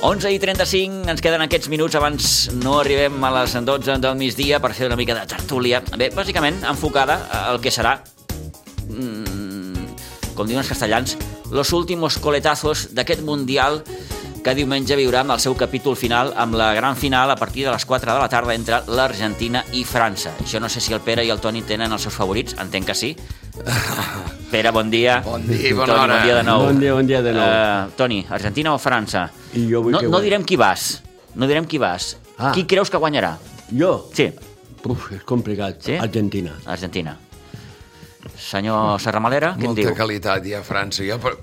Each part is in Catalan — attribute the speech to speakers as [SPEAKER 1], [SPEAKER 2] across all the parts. [SPEAKER 1] Onze i 35, ens queden aquests minuts abans no arribem a les 12 del migdia per fer una mica de tertúlia. Bé, bàsicament enfocada al que serà, mm, com diuen els castellans, los últimos coletazos d'aquest Mundial que diumenge viurà amb el seu capítol final, amb la gran final a partir de les 4 de la tarda entre l'Argentina i França. Jo no sé si el Pere i el Toni tenen els seus favorits, entenc que sí. Pere, bon dia.
[SPEAKER 2] Bon dia, bona
[SPEAKER 1] Toni,
[SPEAKER 2] hora.
[SPEAKER 1] bon dia de nou.
[SPEAKER 3] Bon dia, bon dia de nou.
[SPEAKER 1] Eh, Toni, Argentina o França?
[SPEAKER 3] I jo vull
[SPEAKER 1] no,
[SPEAKER 3] que
[SPEAKER 1] no
[SPEAKER 3] guanyi.
[SPEAKER 1] direm qui vas. No direm qui vas. Ah.
[SPEAKER 3] Ah.
[SPEAKER 1] Qui creus que guanyarà?
[SPEAKER 3] Jo?
[SPEAKER 1] Sí,
[SPEAKER 3] Uf, és complicat.
[SPEAKER 1] Sí?
[SPEAKER 3] Argentina.
[SPEAKER 1] Argentina. Senyor Serramalera, què en
[SPEAKER 2] Molta
[SPEAKER 1] diu?
[SPEAKER 2] qualitat hi ha a França. Jo, però,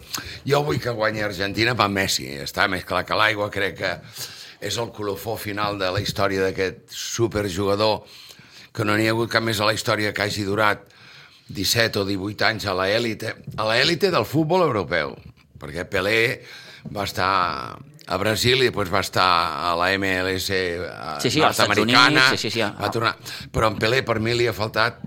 [SPEAKER 2] jo vull que guanyi Argentina per Messi. Està més clar que l'aigua. Crec que és el colofó final de la història d'aquest superjugador que no n'hi ha hagut cap més a la història que hagi durat 17 o 18 anys a l'élite, a l'élite del futbol europeu, perquè Pelé va estar a Brasil i després va estar a la MLS a-
[SPEAKER 1] Sí, sí, als Estats
[SPEAKER 2] eh, nord-americana,
[SPEAKER 1] Units, sí, sí, sí, a-
[SPEAKER 2] va tornar... Però en Pelé per mi li ha faltat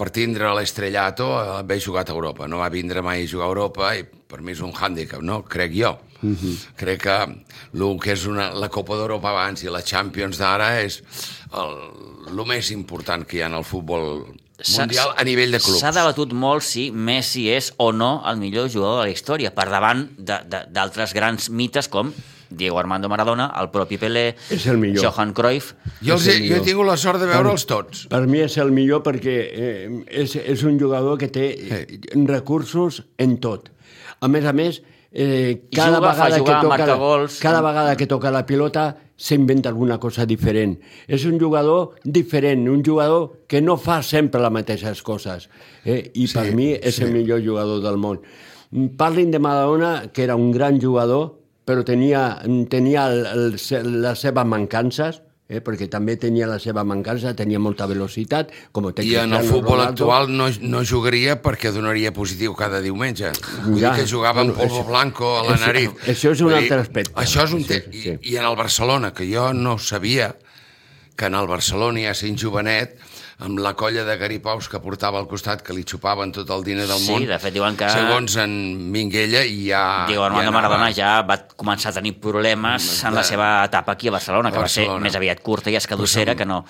[SPEAKER 2] per tindre l'estrellato eh, haver jugat a Europa. No va vindre mai a jugar a Europa i per mi és un hàndicap, no? Crec jo. Mm -hmm. Crec que el que és una, la Copa d'Europa abans i la Champions d'ara és el, el més important que hi ha en el futbol
[SPEAKER 1] S'ha-
[SPEAKER 2] mundial a nivell de clubs.
[SPEAKER 1] S'ha debatut molt si Messi és o no el millor jugador de la història, per davant de- de- d'altres grans mites com Diego Armando Maradona, el propi Pelé,
[SPEAKER 3] És el millor.
[SPEAKER 1] Johan Cruyff...
[SPEAKER 2] Jo, els,
[SPEAKER 3] És el
[SPEAKER 2] he- jo he
[SPEAKER 3] millor.
[SPEAKER 2] tingut la sort de veure'ls tots.
[SPEAKER 3] Per mi és el millor perquè eh, és, és un jugador que té eh, recursos en tot. A més a més, eh,
[SPEAKER 1] I
[SPEAKER 3] cada,
[SPEAKER 1] juga, fa
[SPEAKER 3] vegada
[SPEAKER 1] jugar,
[SPEAKER 3] que toca
[SPEAKER 1] marca
[SPEAKER 3] la,
[SPEAKER 1] gols.
[SPEAKER 3] cada vegada que toca la pilota s'inventa alguna cosa diferent. És un jugador diferent, un jugador que no fa sempre les mateixes coses. Eh? I sí, per mi és sí. el millor jugador del món. Mm, Parlin de Maradona, que era un gran jugador, però tenia, tenia el, el, se- les seves mancances, eh? perquè també tenia la seva mancança, tenia molta velocitat, com té
[SPEAKER 2] I en el
[SPEAKER 3] Cristiano
[SPEAKER 2] futbol
[SPEAKER 3] Ronaldo.
[SPEAKER 2] actual no, no jugaria perquè donaria positiu cada diumenge. Vull dir
[SPEAKER 3] Ja.
[SPEAKER 2] que jugava amb
[SPEAKER 3] Bueno,
[SPEAKER 2] polvo
[SPEAKER 3] això-
[SPEAKER 2] blanco a la
[SPEAKER 3] això-
[SPEAKER 2] nariz.
[SPEAKER 3] això és un
[SPEAKER 2] Vull dir,
[SPEAKER 3] altre aspecte.
[SPEAKER 2] Això és un
[SPEAKER 3] Sí,
[SPEAKER 2] te...
[SPEAKER 3] sí,
[SPEAKER 2] I,
[SPEAKER 3] sí.
[SPEAKER 2] I en el Barcelona, que jo no sabia que en el Barcelona, ja sent jovenet, amb la colla de garipaus que portava al costat, que li xupaven tot el diner del
[SPEAKER 1] Sí,
[SPEAKER 2] món...
[SPEAKER 1] de fet, diuen que-
[SPEAKER 2] Segons en Minguella, i ja...
[SPEAKER 1] Diego
[SPEAKER 2] Ah, ja
[SPEAKER 1] Armando
[SPEAKER 2] anava. Mm,
[SPEAKER 1] Maradona ja va començar a tenir problemes en la seva etapa aquí a Barcelona, que va ser
[SPEAKER 2] Barcelona.
[SPEAKER 1] més aviat curta i escadussera que no.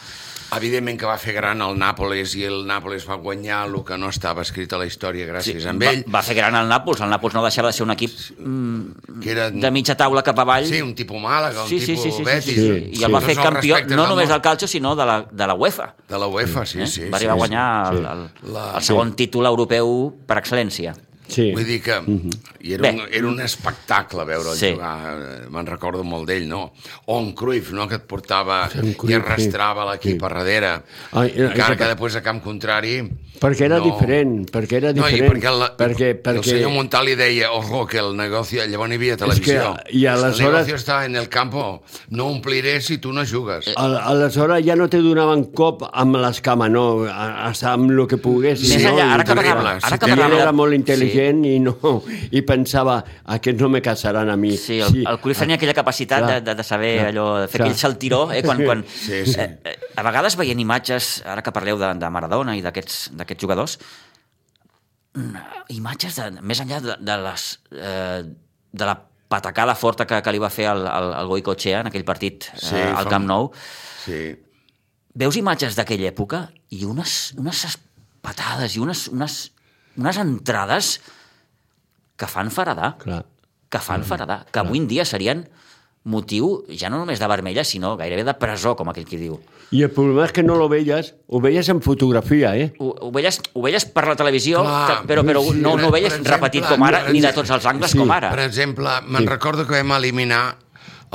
[SPEAKER 2] Evidentment que va fer gran el Nàpolis i el Nàpolis va guanyar el que no estava escrit a la història gràcies sí, a
[SPEAKER 1] va,
[SPEAKER 2] ell,
[SPEAKER 1] va fer gran el Nàpols, el Nàpols no deixava de ser un equip mm,
[SPEAKER 2] que era
[SPEAKER 1] de mitja taula cap avall.
[SPEAKER 2] Sí, un tipus Màlaga, un
[SPEAKER 1] sí, sí,
[SPEAKER 2] tipus
[SPEAKER 1] sí, sí, sí,
[SPEAKER 2] Betis.
[SPEAKER 1] sí, sí. I el va
[SPEAKER 2] Tots
[SPEAKER 1] fer
[SPEAKER 2] els
[SPEAKER 1] campió,
[SPEAKER 2] respectes
[SPEAKER 1] no
[SPEAKER 2] del
[SPEAKER 1] només
[SPEAKER 2] món.
[SPEAKER 1] del calcio, sinó de la, de la UEFA.
[SPEAKER 2] De la UEFA, sí,
[SPEAKER 1] Eh?
[SPEAKER 2] sí.
[SPEAKER 1] va arribar a
[SPEAKER 2] sí,
[SPEAKER 1] guanyar
[SPEAKER 3] sí.
[SPEAKER 1] el, el,
[SPEAKER 2] La-
[SPEAKER 1] el segon títol europeu per excel·lència.
[SPEAKER 3] Sí.
[SPEAKER 2] Sí. Vull dir que i
[SPEAKER 1] Mhm.
[SPEAKER 2] era,
[SPEAKER 1] Bé.
[SPEAKER 2] un, era un espectacle veure'l
[SPEAKER 1] Sí.
[SPEAKER 2] sí. jugar, eh, me'n recordo molt d'ell, no? O en Cruyff, no?, que et portava
[SPEAKER 3] Sí, en
[SPEAKER 2] i
[SPEAKER 3] Cruyff,
[SPEAKER 2] arrastrava
[SPEAKER 3] sí.
[SPEAKER 2] l'equip
[SPEAKER 3] Sí.
[SPEAKER 2] a darrere.
[SPEAKER 3] Ah, era-
[SPEAKER 2] Encara
[SPEAKER 3] era-
[SPEAKER 2] que després a camp contrari...
[SPEAKER 3] Perquè era diferent, perquè era
[SPEAKER 2] No, i
[SPEAKER 3] diferent.
[SPEAKER 2] perquè, la,
[SPEAKER 3] perquè,
[SPEAKER 2] el senyor Montali deia, ojo, que el negoci... Llavors hi havia televisió.
[SPEAKER 3] que- i
[SPEAKER 2] El
[SPEAKER 3] aleshores-
[SPEAKER 2] negoci està en el campo. No ompliré si tu no jugues.
[SPEAKER 1] Eh,
[SPEAKER 3] Al, aleshores ja no te donaven cop amb l'escama, no, a- hasta amb el que pogués.
[SPEAKER 1] Més
[SPEAKER 3] no?
[SPEAKER 1] enllà, ara que
[SPEAKER 3] terrible.
[SPEAKER 2] parlàvem- ara que
[SPEAKER 3] I
[SPEAKER 2] parlàvem
[SPEAKER 3] ell era
[SPEAKER 1] de-
[SPEAKER 3] molt intel·ligent sí. i, no, i pensava, aquests no me casaran a mi.
[SPEAKER 1] Sí, el, sí. el Cruyff
[SPEAKER 2] Ah,
[SPEAKER 1] tenia aquella capacitat de,
[SPEAKER 3] clar,
[SPEAKER 1] de, de saber
[SPEAKER 3] clar,
[SPEAKER 1] allò, de fer
[SPEAKER 3] clar.
[SPEAKER 1] aquell saltiró, eh, quan... quan
[SPEAKER 2] Sí, sí.
[SPEAKER 1] Eh, eh, a vegades veient imatges, ara que parleu de, de Maradona i d'aquests d'aquests jugadors, mm, imatges de, més enllà de, de les... Eh, de la patacada forta que, que li va fer el, el, el Goicoechea en aquell partit eh,
[SPEAKER 2] Sí,
[SPEAKER 1] al
[SPEAKER 2] fa-
[SPEAKER 1] Camp Nou,
[SPEAKER 2] Sí.
[SPEAKER 1] veus imatges d'aquella època i unes, unes espatades i unes, unes, unes entrades que fan faradar,
[SPEAKER 3] Clar.
[SPEAKER 1] que
[SPEAKER 2] Mm-hmm.
[SPEAKER 1] fan faradar, que avui en dia serien motiu ja no només de vermella, sinó gairebé de presó, com aquell qui diu.
[SPEAKER 3] I el problema és que no lo veies, ho veies en fotografia, eh?
[SPEAKER 1] Ho, ho, veies, ho veies per la televisió,
[SPEAKER 2] Clar,
[SPEAKER 1] que, però, però
[SPEAKER 2] sí,
[SPEAKER 1] no,
[SPEAKER 2] per-
[SPEAKER 1] no ho veies
[SPEAKER 2] per exemple,
[SPEAKER 1] repetit com ara,
[SPEAKER 2] no,
[SPEAKER 1] ni de
[SPEAKER 2] sí.
[SPEAKER 1] tots els angles
[SPEAKER 3] Sí,
[SPEAKER 1] com ara.
[SPEAKER 2] Per exemple, me'n recordo que vam eliminar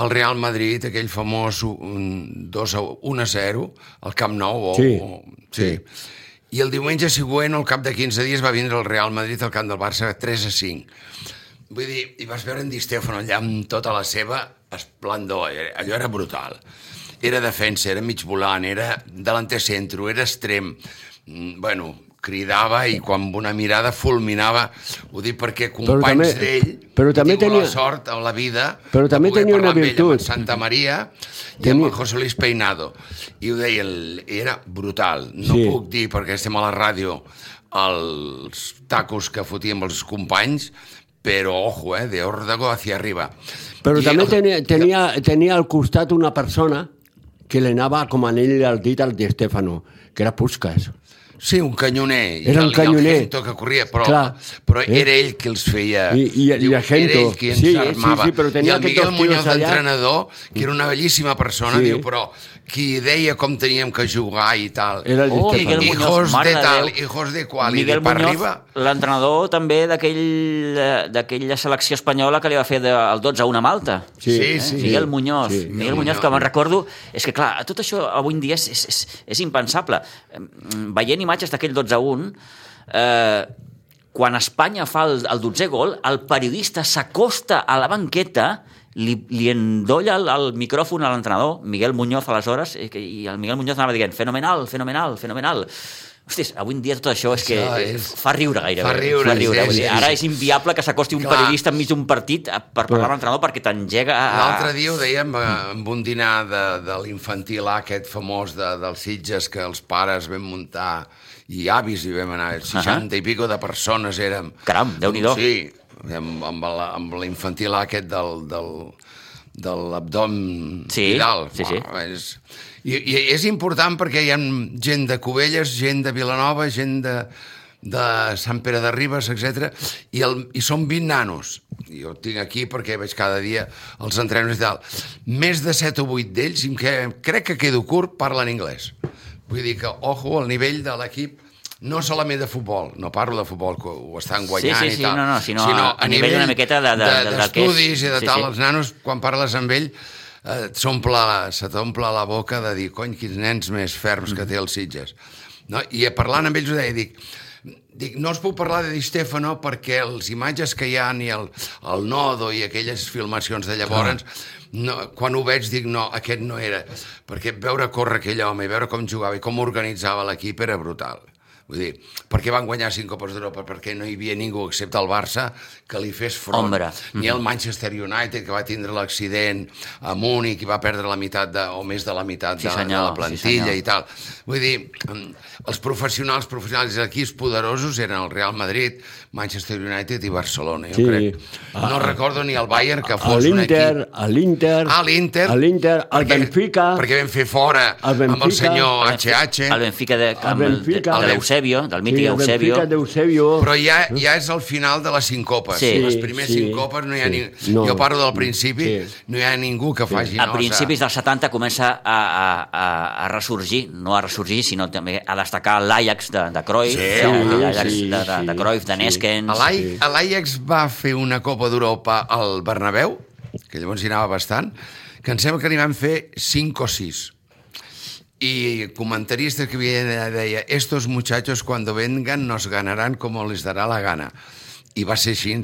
[SPEAKER 2] el Real Madrid, aquell famós 2 a 1 a 0, al Camp Nou. O,
[SPEAKER 3] Sí.
[SPEAKER 2] O, sí. I el diumenge següent, al cap de 15 dies, va vindre el Real Madrid al camp del Barça 3 a 5. Vull dir, i vas veure en Di Stefano allà amb tota la seva esplendor, eh? allò era brutal. Era defensa, era mig volant, era delanter centro, era extrem. Mm, Bueno, cridava i quan amb una mirada fulminava, ho dic perquè companys
[SPEAKER 3] també-
[SPEAKER 2] d'ell
[SPEAKER 3] però també
[SPEAKER 2] he tingut
[SPEAKER 3] tenia-
[SPEAKER 2] la sort a la vida
[SPEAKER 3] però
[SPEAKER 2] de
[SPEAKER 3] també
[SPEAKER 2] poder
[SPEAKER 3] tenia una
[SPEAKER 2] parlar amb ell, amb
[SPEAKER 3] virtut.
[SPEAKER 2] en Santa Maria i amb
[SPEAKER 3] Tenia-
[SPEAKER 2] el José Luis Peinado i ho deia, el- era brutal no
[SPEAKER 3] Sí.
[SPEAKER 2] puc dir perquè estem a la ràdio els tacos que fotíem els companys però ojo, eh, de Órdago hacia arriba
[SPEAKER 3] Però
[SPEAKER 2] I
[SPEAKER 3] també
[SPEAKER 2] el-
[SPEAKER 3] tenia, tenia, tenia al costat una persona que li anava com anell al dit al Di Stefano, que era Puskas.
[SPEAKER 2] Sí, un canyoner. I
[SPEAKER 3] Era un
[SPEAKER 2] el- i
[SPEAKER 3] canyoner.
[SPEAKER 2] El Gento que corria, però,
[SPEAKER 3] Clar.
[SPEAKER 2] però
[SPEAKER 3] Eh?
[SPEAKER 2] era ell qui els feia...
[SPEAKER 3] I- i- i
[SPEAKER 2] diu,
[SPEAKER 3] la Gento.
[SPEAKER 2] Era ell qui ens
[SPEAKER 3] Sí, sí,
[SPEAKER 2] armava.
[SPEAKER 3] sí, però tenia
[SPEAKER 2] I el
[SPEAKER 3] aquests
[SPEAKER 2] Miguel
[SPEAKER 3] dos tios
[SPEAKER 2] Muñoz,
[SPEAKER 3] allà.
[SPEAKER 2] d'entrenador, que era una bellíssima persona,
[SPEAKER 3] Sí.
[SPEAKER 2] diu, però qui deia com teníem que jugar i tal.
[SPEAKER 3] Era el
[SPEAKER 1] Oh,
[SPEAKER 3] Di
[SPEAKER 1] Miguel
[SPEAKER 3] Stefano.
[SPEAKER 1] Muñoz,
[SPEAKER 2] hijos
[SPEAKER 1] mare
[SPEAKER 2] de
[SPEAKER 1] de
[SPEAKER 2] tal,
[SPEAKER 1] Déu.
[SPEAKER 2] hijos de qual, i
[SPEAKER 1] Miguel
[SPEAKER 2] de per
[SPEAKER 1] Muñoz,
[SPEAKER 2] arriba...
[SPEAKER 1] l'entrenador també d'aquell, eh, d'aquella selecció espanyola que li va fer de, el 12 a 1 a Malta.
[SPEAKER 3] Sí,
[SPEAKER 2] Sí,
[SPEAKER 1] Eh?
[SPEAKER 2] sí.
[SPEAKER 1] Miguel Muñoz.
[SPEAKER 3] Sí.
[SPEAKER 1] Miguel Muñoz, que me'n recordo... És que, clar, tot això avui en dia és, és, és, és impensable. Mm, Veient imatges d'aquell 12 a 1, eh, quan Espanya fa el, el 12è gol, el periodista s'acosta a la banqueta li, li endolla el, el micròfon a l'entrenador, Miguel Muñoz, aleshores, i, que- i el Miguel Muñoz anava dient fenomenal, fenomenal, fenomenal. Hòsties, avui en dia tot això és que
[SPEAKER 2] Això és-
[SPEAKER 1] és... fa riure gairebé.
[SPEAKER 2] Fa riure,
[SPEAKER 1] fa riure.
[SPEAKER 2] sí,
[SPEAKER 1] Vull dir,
[SPEAKER 2] sí,
[SPEAKER 1] Ara
[SPEAKER 2] sí.
[SPEAKER 1] és inviable que s'acosti un
[SPEAKER 2] Clar.
[SPEAKER 1] periodista enmig d'un partit a- per parlar amb l'entrenador perquè t'engega... a-
[SPEAKER 2] L'altre dia ho dèiem eh, amb un dinar de, de l'infantil A, aquest famós de, dels Sitges, que els pares vam muntar i avis hi vam anar, 60 i pico de persones érem.
[SPEAKER 1] Caram, Déu-n'hi-do.
[SPEAKER 2] Sí, amb, amb, la, amb l'infantil A aquest del, del, de l'abdomen
[SPEAKER 1] Sí,
[SPEAKER 2] Vidal.
[SPEAKER 1] sí, sí.
[SPEAKER 2] Uau, És, i, I és important perquè hi ha gent de Cubelles, gent de Vilanova, gent de, de Sant Pere de Ribes, etc. I, el, I són 20 nanos. Jo el tinc aquí perquè veig cada dia els entrenos i tal. Més de 7 o 8 d'ells, i em que, crec que quedo curt, parlen anglès. Vull dir que, ojo, al nivell de l'equip no solament de futbol, no parlo de futbol, que ho estan guanyant
[SPEAKER 1] sí, sí,
[SPEAKER 2] i tal,
[SPEAKER 1] no, no, sinó a- a nivell una miqueta de- de- de- del que és.
[SPEAKER 2] d'estudis i de
[SPEAKER 1] Sí,
[SPEAKER 2] tal,
[SPEAKER 1] sí.
[SPEAKER 2] els nanos, quan parles amb ell, eh, s'omple se t'omple la boca de dir, cony, quins nens més ferms
[SPEAKER 1] Mm.
[SPEAKER 2] que té els Sitges. No? I parlant amb ells ho deia, dic, dic, no us puc parlar de Di Stefano perquè les imatges que hi ha i el, el nodo i aquelles filmacions de llavors, no, quan ho veig dic, no, aquest no era. Perquè veure córrer aquell home i veure com jugava i com organitzava l'equip era brutal. Vull dir, perquè van guanyar cinc Copes d'Europa? Perquè no hi havia ningú, excepte el Barça, que li fes front.
[SPEAKER 1] Ombra.
[SPEAKER 2] Ni
[SPEAKER 1] Mm-hmm.
[SPEAKER 2] el Manchester United, que va tindre l'accident a Múnich i va perdre la meitat de, o més de la meitat
[SPEAKER 1] Sí,
[SPEAKER 2] de, de
[SPEAKER 1] senyor,
[SPEAKER 2] la
[SPEAKER 1] sí,
[SPEAKER 2] plantilla
[SPEAKER 1] senyor.
[SPEAKER 2] i tal. Vull dir, mm, els professionals, professionals dels equips poderosos eren el Real Madrid, Manchester United i Barcelona, jo
[SPEAKER 3] Sí.
[SPEAKER 2] crec.
[SPEAKER 3] Ah,
[SPEAKER 2] No recordo ni el Bayern, que
[SPEAKER 3] A
[SPEAKER 2] fos un equip...
[SPEAKER 3] l'Inter, a l'Inter,
[SPEAKER 2] Ah, l'Inter.
[SPEAKER 3] a l'Inter, al
[SPEAKER 2] Perquè-
[SPEAKER 3] Benfica,
[SPEAKER 2] Perquè vam fer fora
[SPEAKER 3] Al
[SPEAKER 2] amb
[SPEAKER 3] Benfica.
[SPEAKER 2] el senyor
[SPEAKER 1] El Benfica-
[SPEAKER 2] HH.
[SPEAKER 1] El Benfica de,
[SPEAKER 3] al
[SPEAKER 1] amb el, de,
[SPEAKER 3] Benfica.
[SPEAKER 1] de l'Eusebio, del mític
[SPEAKER 3] sí,
[SPEAKER 1] sí,
[SPEAKER 3] al
[SPEAKER 1] Eusebio.
[SPEAKER 3] Benfica d'Eusebio.
[SPEAKER 2] Però ja, ja és el final de les cinc copes.
[SPEAKER 1] Sí.
[SPEAKER 2] Sí, les
[SPEAKER 3] Sí,
[SPEAKER 2] primers
[SPEAKER 3] sí,
[SPEAKER 2] sí, cinc copes no hi ha
[SPEAKER 3] sí.
[SPEAKER 2] ni...
[SPEAKER 3] No.
[SPEAKER 2] No. Jo parlo del principi,
[SPEAKER 3] Sí.
[SPEAKER 2] sí. no hi ha ningú que faci
[SPEAKER 1] A
[SPEAKER 2] nosa.
[SPEAKER 1] principis dels 70 comença a, a, a, a ressorgir, no a ressorgir, sinó també a destacar l'Ajax de, de Cruyff,
[SPEAKER 2] Sí,
[SPEAKER 1] el-
[SPEAKER 2] home,
[SPEAKER 1] l'Ajax
[SPEAKER 3] sí,
[SPEAKER 1] de, de, de
[SPEAKER 3] sí,
[SPEAKER 1] Cruyff, de
[SPEAKER 3] sí.
[SPEAKER 1] Neskens...
[SPEAKER 2] A l'Ai- a L'Ajax va fer una Copa d'Europa al Bernabéu, que llavors hi anava bastant, que em sembla que n'hi van fer 5 o 6. I comentaristes que havien allà deia estos muchachos cuando vengan nos ganarán como les dará la gana. I va ser així.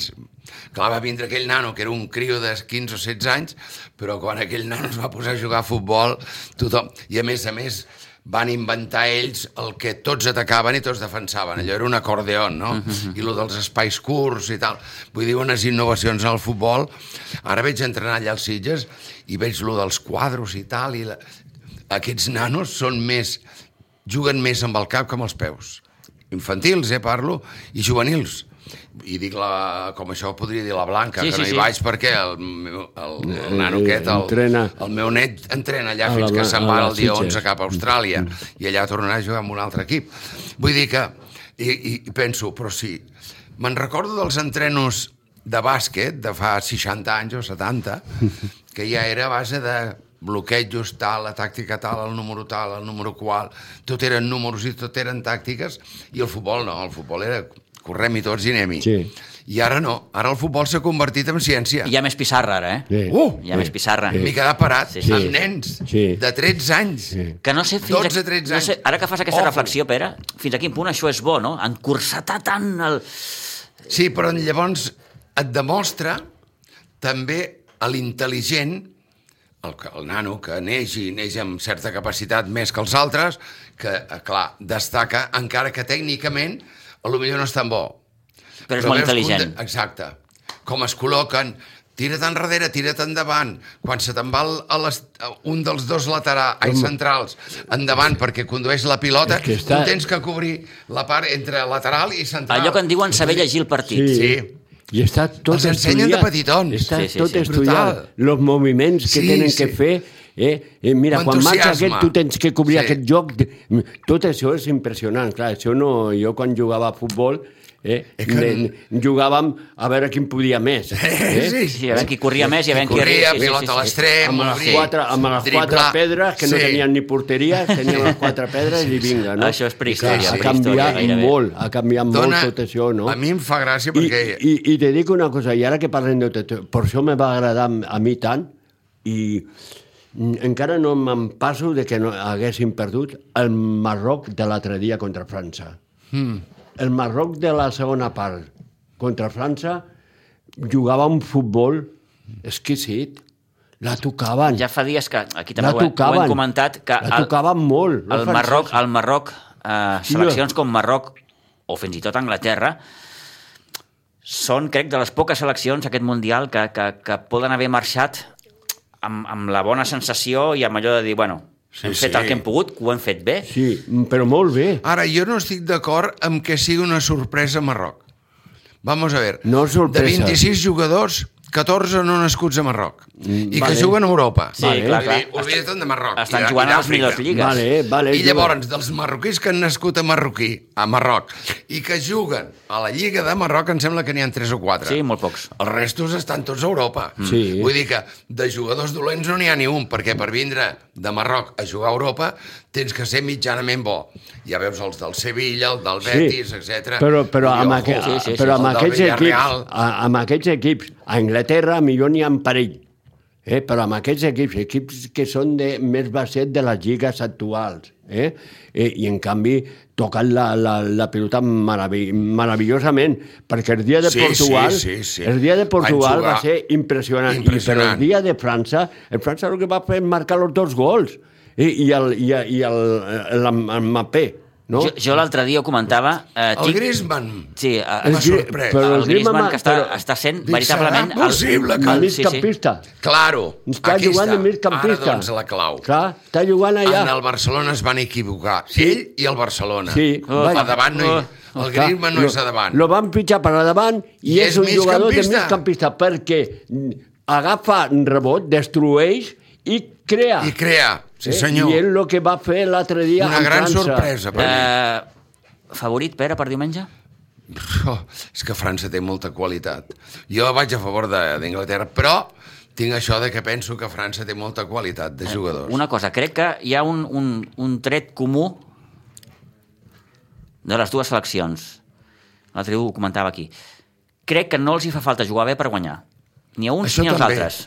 [SPEAKER 2] Clar, va vindre aquell nano, que era un crio de 15 o 16 anys, però quan aquell nano es va posar a jugar a futbol, tothom... I a més a més, van inventar ells el que tots atacaven i tots defensaven. Allò era un acordeon, no? I lo dels espais curts i tal. Vull dir, unes innovacions al futbol. Ara veig entrenar allà als Sitges i veig lo dels quadros i tal. I la... Aquests nanos són més... juguen més amb el cap que amb els peus. Infantils, eh, parlo, i juvenils. I dic, la, com això podria dir la Blanca,
[SPEAKER 1] Sí,
[SPEAKER 2] que
[SPEAKER 1] sí,
[SPEAKER 2] no hi
[SPEAKER 1] sí.
[SPEAKER 2] vaig perquè el, meu- el, el nano
[SPEAKER 3] Eh,
[SPEAKER 2] aquest, el,
[SPEAKER 3] entrena.
[SPEAKER 2] el meu net entrena allà
[SPEAKER 3] A la
[SPEAKER 2] fins que
[SPEAKER 3] Blan-
[SPEAKER 2] se'n
[SPEAKER 3] a
[SPEAKER 2] va
[SPEAKER 3] la
[SPEAKER 2] el dia
[SPEAKER 3] Sitges.
[SPEAKER 2] 11 cap a Austràlia i allà tornarà a jugar amb un altre equip. Vull dir que, i, i i penso, però sí, me'n recordo dels entrenos de bàsquet de fa 60 anys o 70, que ja era a base de bloquejos tal, la tàctica tal, el número tal, el número qual, tot eren números i tot eren tàctiques, i el futbol no, el futbol era correm-hi tots i anem-hi.
[SPEAKER 3] Sí.
[SPEAKER 2] I ara no, ara el futbol s'ha convertit en ciència.
[SPEAKER 1] Hi ha més pissarra, ara, eh?
[SPEAKER 3] Sí.
[SPEAKER 2] Uh!
[SPEAKER 1] Hi ha més pissarra.
[SPEAKER 2] M'he quedat parat,
[SPEAKER 1] Sí, sí.
[SPEAKER 2] sí, sí. amb nens
[SPEAKER 3] Sí.
[SPEAKER 2] de 13 anys. Sí.
[SPEAKER 1] Que no sé fins
[SPEAKER 2] 12,
[SPEAKER 1] a-
[SPEAKER 2] 13
[SPEAKER 1] no sé,
[SPEAKER 2] anys.
[SPEAKER 1] ara que fas aquesta
[SPEAKER 2] Ojo.
[SPEAKER 1] reflexió, Pere, fins a quin punt això és bo, no? Encursetar tant el...
[SPEAKER 2] sí, però llavors et demostra també a l'intel·ligent, el, que- el nano que neix i neix amb certa capacitat més que els altres, que, eh, clar, destaca, encara que tècnicament a lo millor no és tan bo.
[SPEAKER 1] Però és molt
[SPEAKER 2] veus com
[SPEAKER 1] intel·ligent.
[SPEAKER 2] de- Exacte. Com es col·loquen, tira't enrere, tira't endavant, quan se te'n va a les, a un dels dos laterals, ai, centrals, endavant perquè condueix la pilota,
[SPEAKER 3] És que està-
[SPEAKER 2] tu tens que cobrir la part entre lateral i central.
[SPEAKER 1] Allò que en diuen saber llegir el partit.
[SPEAKER 3] Sí.
[SPEAKER 2] Sí.
[SPEAKER 3] I està tot
[SPEAKER 2] Els ensenyen
[SPEAKER 3] estudiat.
[SPEAKER 2] de petitons.
[SPEAKER 3] Està
[SPEAKER 1] Sí, sí,
[SPEAKER 3] tot
[SPEAKER 1] sí.
[SPEAKER 3] estudiat.
[SPEAKER 2] Brutal.
[SPEAKER 3] Els moviments que
[SPEAKER 2] Sí,
[SPEAKER 3] tenen
[SPEAKER 2] sí.
[SPEAKER 3] que fer. Eh? Eh, mira,
[SPEAKER 2] Amb
[SPEAKER 3] quan marca
[SPEAKER 2] entusiasme.
[SPEAKER 3] aquest, tu tens que cobrir
[SPEAKER 2] Sí.
[SPEAKER 3] aquest joc. Tot això és impressionant. Clar, això no... Jo quan jugava a futbol... Eh,
[SPEAKER 2] És que-
[SPEAKER 3] que... jugàvem a veure quin podia més. Eh?
[SPEAKER 2] Sí,
[SPEAKER 1] Sí, a veure qui corria més i a veure qui...
[SPEAKER 2] Corria,
[SPEAKER 1] sí, sí,
[SPEAKER 2] pilota
[SPEAKER 1] sí, sí.
[SPEAKER 2] a l'extrem,
[SPEAKER 3] amb les
[SPEAKER 2] obrir,
[SPEAKER 3] quatre, amb les quatre
[SPEAKER 2] driblar.
[SPEAKER 3] pedres que no tenien ni porteria, tenien les quatre pedres i vinga, no?
[SPEAKER 1] Això és
[SPEAKER 2] Sí,
[SPEAKER 1] prehistòria.
[SPEAKER 2] sí.
[SPEAKER 3] Ha
[SPEAKER 1] prehistòria,
[SPEAKER 3] canviat
[SPEAKER 1] gairebé.
[SPEAKER 3] molt, ha canviat
[SPEAKER 2] Dona-
[SPEAKER 3] molt tot això, no?
[SPEAKER 2] A mi em fa gràcia
[SPEAKER 3] I,
[SPEAKER 2] perquè...
[SPEAKER 3] i, I te dic una cosa, i ara que parlem de tot, per això me va agradar a mi tant, i mm, encara no me'n passo de que no haguéssim perdut el Marroc de l'altre dia contra França.
[SPEAKER 2] Hmm.
[SPEAKER 3] Mm. El Marroc de la segona part contra França jugava un futbol exquisit. La tocaven.
[SPEAKER 1] Ja fa dies que aquí
[SPEAKER 3] La
[SPEAKER 1] també ho, he- ho
[SPEAKER 3] tocaven.
[SPEAKER 1] hem comentat que
[SPEAKER 3] La tocaven molt, la
[SPEAKER 1] el
[SPEAKER 3] francesos.
[SPEAKER 1] Marroc, el Marroc eh, seleccions com Marroc o fins i tot Anglaterra són, crec, de les poques seleccions aquest Mundial que, que, que poden haver marxat amb, amb la bona sensació i amb allò de dir, bueno,
[SPEAKER 2] Sí,
[SPEAKER 1] hem fet
[SPEAKER 2] sí.
[SPEAKER 1] el que hem pogut, ho hem fet bé.
[SPEAKER 3] Sí, però molt bé.
[SPEAKER 2] Ara, jo no estic d'acord amb que sigui una sorpresa a Marroc. Vamos a ver.
[SPEAKER 3] No és sorpresa.
[SPEAKER 2] De 26 jugadors, 14 no nascuts a Marroc. I
[SPEAKER 3] Mm, vale.
[SPEAKER 2] que juguen a Europa.
[SPEAKER 1] Sí, Vale. clar, clar.
[SPEAKER 2] Vull dir, Oblida't de Marroc.
[SPEAKER 1] Estan
[SPEAKER 2] i de-
[SPEAKER 1] jugant
[SPEAKER 2] i
[SPEAKER 1] a les
[SPEAKER 2] d'Àfrica.
[SPEAKER 1] millors lligues.
[SPEAKER 3] Vale, vale.
[SPEAKER 2] I llavors, dels marroquins que han nascut a Marroquí, a Marroc, i que juguen a la Lliga de Marroc, em sembla que n'hi ha 3 o 4.
[SPEAKER 1] Sí, molt pocs.
[SPEAKER 2] Els restos estan tots a Europa.
[SPEAKER 3] Sí.
[SPEAKER 2] Vull dir que de jugadors dolents no n'hi ha ni un, perquè per vindre de Marroc a jugar a Europa tens que ser mitjanament bo. Ja veus els del Sevilla, el del Betis, etc.
[SPEAKER 3] Però, però amb,
[SPEAKER 2] aqu...
[SPEAKER 3] aqu sí, sí, sí, però amb, aquests equips, a, amb aquests equips, a Anglaterra millor n'hi ha un parell, eh? però amb aquests equips, equips que són de, més basset de les lligues actuals, eh? I, i en canvi toquen la, la, la pilota meravi meravellosament, perquè el dia de
[SPEAKER 2] Sí,
[SPEAKER 3] Portugal,
[SPEAKER 2] sí, sí, sí.
[SPEAKER 3] el dia de
[SPEAKER 2] Van
[SPEAKER 3] Portugal va
[SPEAKER 2] jugar
[SPEAKER 3] ser impressionant, impressionant. I, però
[SPEAKER 2] impressionant.
[SPEAKER 3] el dia de França, el França el que va fer és marcar els dos gols, i, i el, i, el, i el, el, el, el Mapé, no?
[SPEAKER 1] Jo, jo l'altre dia ho comentava... Eh,
[SPEAKER 2] El Griezmann.
[SPEAKER 1] Sí, eh, a,
[SPEAKER 2] El
[SPEAKER 1] a,
[SPEAKER 2] Gri- sorprès.
[SPEAKER 3] però
[SPEAKER 1] el Griezmann,
[SPEAKER 3] Griezmann-
[SPEAKER 1] que està,
[SPEAKER 3] però-
[SPEAKER 1] està sent
[SPEAKER 2] Dic,
[SPEAKER 1] veritablement...
[SPEAKER 2] serà possible que-
[SPEAKER 3] el
[SPEAKER 1] el, sí, sí.
[SPEAKER 3] migcampista.
[SPEAKER 2] Claro.
[SPEAKER 3] Està
[SPEAKER 2] aquí
[SPEAKER 3] jugant
[SPEAKER 2] està.
[SPEAKER 3] de migcampista.
[SPEAKER 2] Ara, doncs, la clau.
[SPEAKER 3] Clar, està jugant allà.
[SPEAKER 2] En el Barcelona es van equivocar. Sí. Ell i el Barcelona.
[SPEAKER 3] Sí.
[SPEAKER 2] a davant no hi...
[SPEAKER 3] Clar,
[SPEAKER 2] El Griezmann no
[SPEAKER 3] lo-
[SPEAKER 2] és a davant.
[SPEAKER 3] Lo van pitjar per a davant i,
[SPEAKER 2] I
[SPEAKER 3] és,
[SPEAKER 2] és
[SPEAKER 3] un jugador de
[SPEAKER 2] migcampista.
[SPEAKER 3] migcampista perquè mm, agafa un rebot, destrueix i crea.
[SPEAKER 2] I crea. Sí,
[SPEAKER 3] Eh?
[SPEAKER 2] senyor.
[SPEAKER 3] I és el que va fer l'altre dia
[SPEAKER 2] Una
[SPEAKER 3] amb
[SPEAKER 2] gran
[SPEAKER 3] França.
[SPEAKER 2] sorpresa per mi.
[SPEAKER 1] Eh, favorit, Pere, per diumenge?
[SPEAKER 2] Oh, és que França té molta qualitat. Jo vaig a favor de- d'Anglaterra, però tinc això de que penso que França té molta qualitat de jugadors.
[SPEAKER 1] Eh, Una cosa, crec que hi ha un, un, un tret comú de les dues seleccions. L'altre dia ho comentava aquí. Crec que no els hi fa falta jugar bé per guanyar. Ni a uns
[SPEAKER 2] Això
[SPEAKER 1] ni als
[SPEAKER 2] també.
[SPEAKER 1] altres.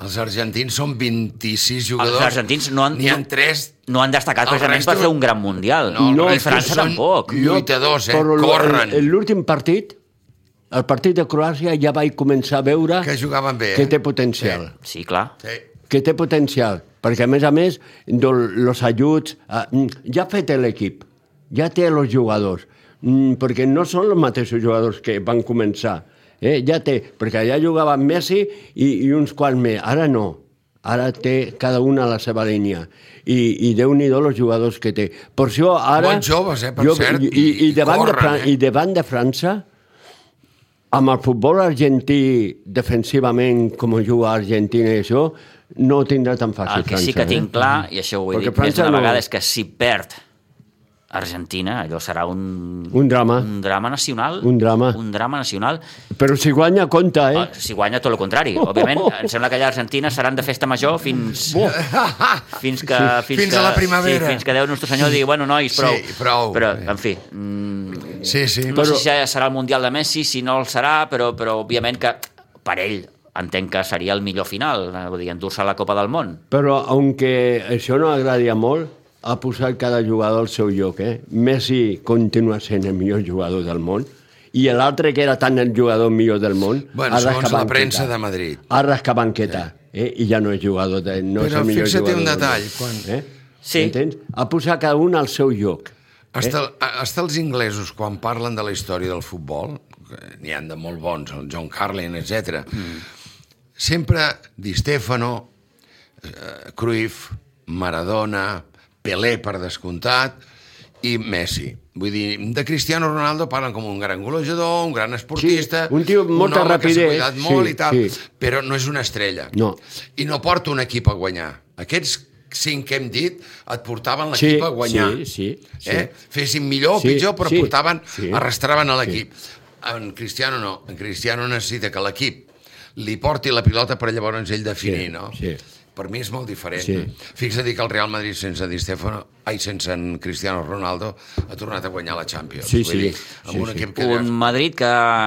[SPEAKER 2] Els argentins són 26 jugadors.
[SPEAKER 1] Els argentins no han,
[SPEAKER 2] N'hi ha 3.
[SPEAKER 1] no han destacat
[SPEAKER 2] El
[SPEAKER 1] precisament
[SPEAKER 2] resto-
[SPEAKER 1] per fer un gran mundial.
[SPEAKER 2] No, el
[SPEAKER 3] No,
[SPEAKER 1] I
[SPEAKER 3] resto
[SPEAKER 1] França
[SPEAKER 2] són-
[SPEAKER 1] tampoc.
[SPEAKER 2] Lluitadors, eh?
[SPEAKER 3] Però l-
[SPEAKER 2] Corren.
[SPEAKER 3] en L'últim partit, el partit de Croàcia, ja vaig començar a veure
[SPEAKER 2] Que jugaven bé,
[SPEAKER 3] que
[SPEAKER 2] eh?
[SPEAKER 3] té potencial.
[SPEAKER 2] Sí.
[SPEAKER 1] Sí, clar.
[SPEAKER 2] Sí.
[SPEAKER 3] que té potencial, perquè a més a més els ajuts... eh, mm, Ja ha fet l'equip, ja té els jugadors, mm, perquè no són els mateixos jugadors que van començar. Eh? Ja té, perquè allà jugava Messi i, i uns quants més, ara no. Ara té cada una la seva línia. I, i Déu-n'hi-do els jugadors que té. Per això ara...
[SPEAKER 2] Molt joves, eh, per cert,
[SPEAKER 3] I, i, i,
[SPEAKER 2] i
[SPEAKER 3] davant de
[SPEAKER 2] corren,
[SPEAKER 3] Fran
[SPEAKER 2] eh?
[SPEAKER 3] I davant de França, amb el futbol argentí defensivament com juga Argentina i això, no ho tindrà tan fàcil.
[SPEAKER 1] El que sí que
[SPEAKER 3] França, eh?
[SPEAKER 1] tinc clar, i això ho he
[SPEAKER 3] Perquè
[SPEAKER 1] dit més
[SPEAKER 3] França
[SPEAKER 1] d'una
[SPEAKER 3] no-
[SPEAKER 1] vegada, és que si perd Argentina, allò serà un,
[SPEAKER 3] Un drama.
[SPEAKER 1] un drama nacional.
[SPEAKER 3] Un drama.
[SPEAKER 1] Un drama nacional.
[SPEAKER 3] Però si guanya, compta, eh? Oh!
[SPEAKER 1] Ah, Si guanya, tot el contrari. Òbviament, em sembla que allà a Argentina seran de festa major fins... Fins, que, fins,
[SPEAKER 2] Fins
[SPEAKER 1] que,
[SPEAKER 2] a la primavera.
[SPEAKER 1] Sí, fins que Déu Nostre Senyor digui, bueno, nois, prou.
[SPEAKER 2] Sí, prou.
[SPEAKER 1] Però, en fi, mm,
[SPEAKER 2] Sí, sí.
[SPEAKER 1] no sé si ja serà el Mundial de Messi, si no el serà, però, però òbviament que per ell entenc que seria el millor final, eh, vull dir, endur-se la Copa del Món.
[SPEAKER 3] Però, aunque això no agradi a molt, ha posat cada jugador al seu lloc, eh? Messi continua sent el millor jugador del món i l'altre, que era tant el jugador millor del món,
[SPEAKER 2] Bueno,
[SPEAKER 3] ha
[SPEAKER 2] segons la
[SPEAKER 3] rascat
[SPEAKER 2] premsa
[SPEAKER 3] banqueta.
[SPEAKER 2] de Madrid.
[SPEAKER 3] Ha rascat banqueta, eh? i ja no és jugador, de, no és
[SPEAKER 2] Però
[SPEAKER 3] el millor
[SPEAKER 2] fixa't
[SPEAKER 3] jugador.
[SPEAKER 2] un
[SPEAKER 3] del món.
[SPEAKER 2] detall, quan-
[SPEAKER 3] Eh?
[SPEAKER 1] Sí.
[SPEAKER 3] Entens? Ha posat cada un al seu lloc.
[SPEAKER 2] Hasta, eh? hasta els inglesos, quan parlen de la història del futbol, que n'hi han de molt bons, el John Carlin, etc. Mm. Sempre Di Stefano, eh, Cruyff, Maradona, Pelé, per descomptat, i Messi. Vull dir, de Cristiano Ronaldo parlen com un gran golejador, un gran esportista...
[SPEAKER 3] un tio
[SPEAKER 2] home que
[SPEAKER 3] molt
[SPEAKER 2] s'ha
[SPEAKER 3] rapidez,
[SPEAKER 2] cuidat molt
[SPEAKER 3] sí,
[SPEAKER 2] i tal,
[SPEAKER 3] sí.
[SPEAKER 2] però no és una estrella.
[SPEAKER 3] No.
[SPEAKER 2] I no porta un equip a guanyar. Aquests cinc que hem dit et portaven l'equip
[SPEAKER 3] Sí,
[SPEAKER 2] a guanyar
[SPEAKER 3] sí, sí, sí.
[SPEAKER 2] eh? fessin millor o
[SPEAKER 3] Sí,
[SPEAKER 2] pitjor, però
[SPEAKER 3] sí,
[SPEAKER 2] sí, portaven,
[SPEAKER 3] sí.
[SPEAKER 2] sí, arrastraven a l'equip. Sí. En Cristiano no. En Cristiano necessita que l'equip li porti la pilota per llavors ell definir,
[SPEAKER 3] Sí,
[SPEAKER 2] no?
[SPEAKER 3] sí.
[SPEAKER 2] Per mi és molt diferent.
[SPEAKER 3] Sí.
[SPEAKER 2] Sí. Fixa't que el Real Madrid sense Di Stefano, ai, sense en Cristiano Ronaldo, ha tornat a guanyar la Champions.
[SPEAKER 3] Sí, sí.
[SPEAKER 2] Vull dir, amb
[SPEAKER 3] Sí,
[SPEAKER 2] un
[SPEAKER 3] sí.
[SPEAKER 2] equip que...
[SPEAKER 1] Un Madrid que,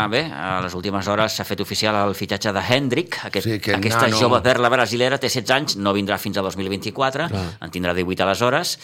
[SPEAKER 1] bé, a les últimes hores s'ha fet oficial el fitxatge de Hendrik, aquest,
[SPEAKER 2] Sí,
[SPEAKER 1] sí,
[SPEAKER 2] que
[SPEAKER 1] aquesta
[SPEAKER 2] nano.
[SPEAKER 1] nano... jove perla brasilera, té 16 anys, no vindrà fins al 2024, Clar. en tindrà 18 aleshores.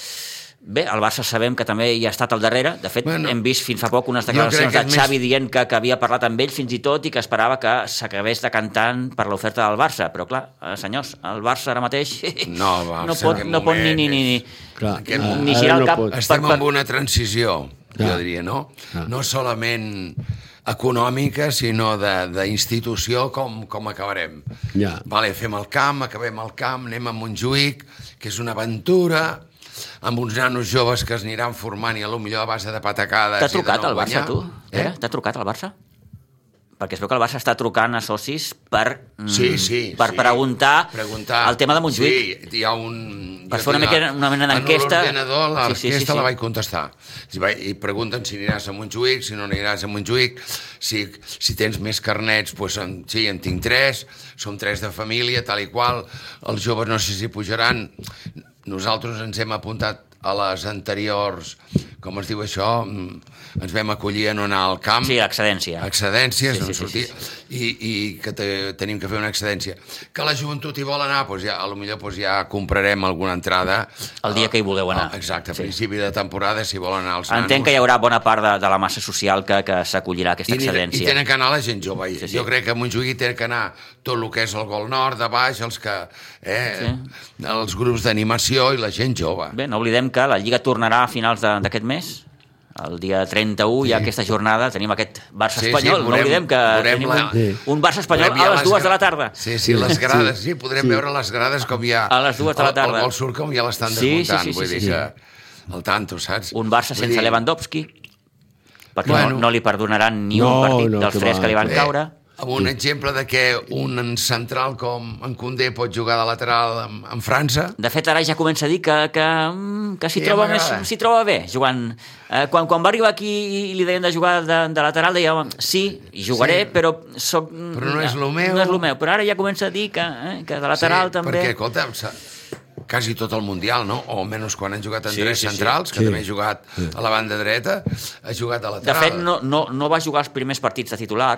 [SPEAKER 1] Bé, el Barça sabem que també hi ha estat al darrere. De fet,
[SPEAKER 2] Bueno,
[SPEAKER 1] bueno, hem vist fins fa poc unes
[SPEAKER 2] jo crec
[SPEAKER 1] declaracions
[SPEAKER 2] que
[SPEAKER 1] de
[SPEAKER 2] és
[SPEAKER 1] Xavi
[SPEAKER 2] més-
[SPEAKER 1] dient que, que havia parlat amb ell fins i tot i que esperava que s'acabés decantant per l'oferta del Barça. Però clar, eh, senyors, el Barça ara mateix
[SPEAKER 2] No, va,
[SPEAKER 1] no
[SPEAKER 2] en
[SPEAKER 1] pot,
[SPEAKER 2] aquest
[SPEAKER 1] no pot ni,
[SPEAKER 2] moment
[SPEAKER 1] ni, ni, ni,
[SPEAKER 3] Clar, eh,
[SPEAKER 2] Aquest-
[SPEAKER 3] ara
[SPEAKER 1] ni girar
[SPEAKER 3] no
[SPEAKER 1] el cap.
[SPEAKER 3] pot.
[SPEAKER 2] Estem
[SPEAKER 1] per- per-
[SPEAKER 2] en una transició,
[SPEAKER 3] Clar.
[SPEAKER 2] jo diria, no?
[SPEAKER 3] Clar.
[SPEAKER 2] No solament econòmica, sinó de- d'institució, com, com acabarem.
[SPEAKER 3] Ja.
[SPEAKER 2] Vale, fem el camp, acabem el camp, anem a Montjuïc, que és una aventura, amb uns nanos joves que es aniran formant i a lo millor a base de patacades...
[SPEAKER 1] T'ha
[SPEAKER 2] i de
[SPEAKER 1] trucat
[SPEAKER 2] no
[SPEAKER 1] el Barça,
[SPEAKER 2] guanyar.
[SPEAKER 1] tu? Eh?
[SPEAKER 2] Eh?
[SPEAKER 1] T'ha trucat el Barça? Perquè es veu que el Barça està trucant a socis per, mm,
[SPEAKER 2] Sí, sí.
[SPEAKER 1] per
[SPEAKER 2] sí.
[SPEAKER 1] preguntar, el tema de Montjuïc.
[SPEAKER 2] Sí, hi ha un...
[SPEAKER 1] Per
[SPEAKER 2] jo
[SPEAKER 1] fer una
[SPEAKER 2] tinc
[SPEAKER 1] mica-
[SPEAKER 2] a-
[SPEAKER 1] una mena d'enquesta.
[SPEAKER 2] En l'ordenador, l'enquesta
[SPEAKER 1] Sí, sí, sí, sí.
[SPEAKER 2] la vaig contestar. I, vaig, I pregunten si aniràs a Montjuïc, si no aniràs a Montjuïc, si, si tens més carnets, doncs en, sí, en tinc tres, som tres de família, tal i qual, els joves no sé si pujaran. Nosaltres ens hem apuntat a les anteriors, com es diu això, Mm, ens vam acollir en anar al camp
[SPEAKER 1] Mm. Sí, l'excedència.
[SPEAKER 2] excedències,
[SPEAKER 1] Sí, sí, sí,
[SPEAKER 2] sí, sí, sortir, sí, sí, sí. I, i que te, tenim que fer una excedència. Que la joventut hi vol anar, doncs ja, a lo millor doncs ja comprarem alguna entrada.
[SPEAKER 1] El dia que hi vulgueu anar.
[SPEAKER 2] Ah, Exacte, a
[SPEAKER 1] Sí.
[SPEAKER 2] principi de temporada, si volen anar als
[SPEAKER 1] Entenc que hi haurà bona part de, de la massa social que, que s'acollirà a aquesta
[SPEAKER 2] i, anirà- I
[SPEAKER 1] excedència.
[SPEAKER 2] tenen que anar la gent jove. Sí,
[SPEAKER 1] Sí,
[SPEAKER 2] sí.
[SPEAKER 1] sí.
[SPEAKER 2] Jo crec que a Montjuïc hi tenen que anar tot el que és el Gol Nord, de baix, els que... Eh, sí. Els grups d'animació i la gent jove.
[SPEAKER 1] Bé, no oblidem que la Lliga tornarà a finals de- d'aquest mes, el dia 31 hi ha aquesta jornada, tenim aquest Barça
[SPEAKER 2] Sí, sí,
[SPEAKER 1] espanyol,
[SPEAKER 2] veurem-
[SPEAKER 1] no oblidem que
[SPEAKER 2] veurem
[SPEAKER 1] tenim
[SPEAKER 2] la-
[SPEAKER 1] un, un Barça espanyol a
[SPEAKER 2] Podrem mirar
[SPEAKER 1] les dues de la
[SPEAKER 2] gra-
[SPEAKER 1] tarda.
[SPEAKER 2] Sí, sí, les grades, sí, podrem veure les grades com ja...
[SPEAKER 1] A les dues de la
[SPEAKER 2] El,
[SPEAKER 1] tarda.
[SPEAKER 2] el gol surt com ja l'estan
[SPEAKER 1] Sí,
[SPEAKER 2] desmuntant,
[SPEAKER 1] sí, sí, sí,
[SPEAKER 2] vull
[SPEAKER 1] sí,
[SPEAKER 2] dir
[SPEAKER 1] sí.
[SPEAKER 2] que... El tanto, saps?
[SPEAKER 1] Un Barça
[SPEAKER 2] Vull
[SPEAKER 1] sense
[SPEAKER 2] dir,
[SPEAKER 1] Lewandowski, perquè
[SPEAKER 2] Bueno.
[SPEAKER 1] no, no li perdonaran ni
[SPEAKER 3] No,
[SPEAKER 1] un partit
[SPEAKER 3] no,
[SPEAKER 1] dels
[SPEAKER 3] que
[SPEAKER 1] tres
[SPEAKER 3] va,
[SPEAKER 1] que li van
[SPEAKER 2] eh,
[SPEAKER 1] caure.
[SPEAKER 2] Amb un exemple de que un central com en Condé pot jugar de lateral en, en França...
[SPEAKER 1] De fet, ara ja comença a dir que, que, mm, que s'hi
[SPEAKER 2] Sí,
[SPEAKER 1] troba, més,
[SPEAKER 2] m'agrada.
[SPEAKER 1] s'hi troba bé jugant. Eh, quan, quan va arribar aquí i li deien de jugar de, de lateral, deia, home, sí, hi jugaré,
[SPEAKER 2] Sí.
[SPEAKER 1] sí, però, soc, mm,
[SPEAKER 2] Però no és lo meu."
[SPEAKER 1] No és el meu, però ara ja comença a dir que, eh, que de lateral també...
[SPEAKER 2] Perquè, escolta, s'ha- quasi tot el Mundial, no? O almenys quan han jugat en sí, tres sí, centrals, que
[SPEAKER 3] Sí.
[SPEAKER 2] també ha jugat a la banda dreta, ha jugat a
[SPEAKER 1] De
[SPEAKER 2] lateral.
[SPEAKER 1] fet, no, no, no va jugar els primers partits de titular,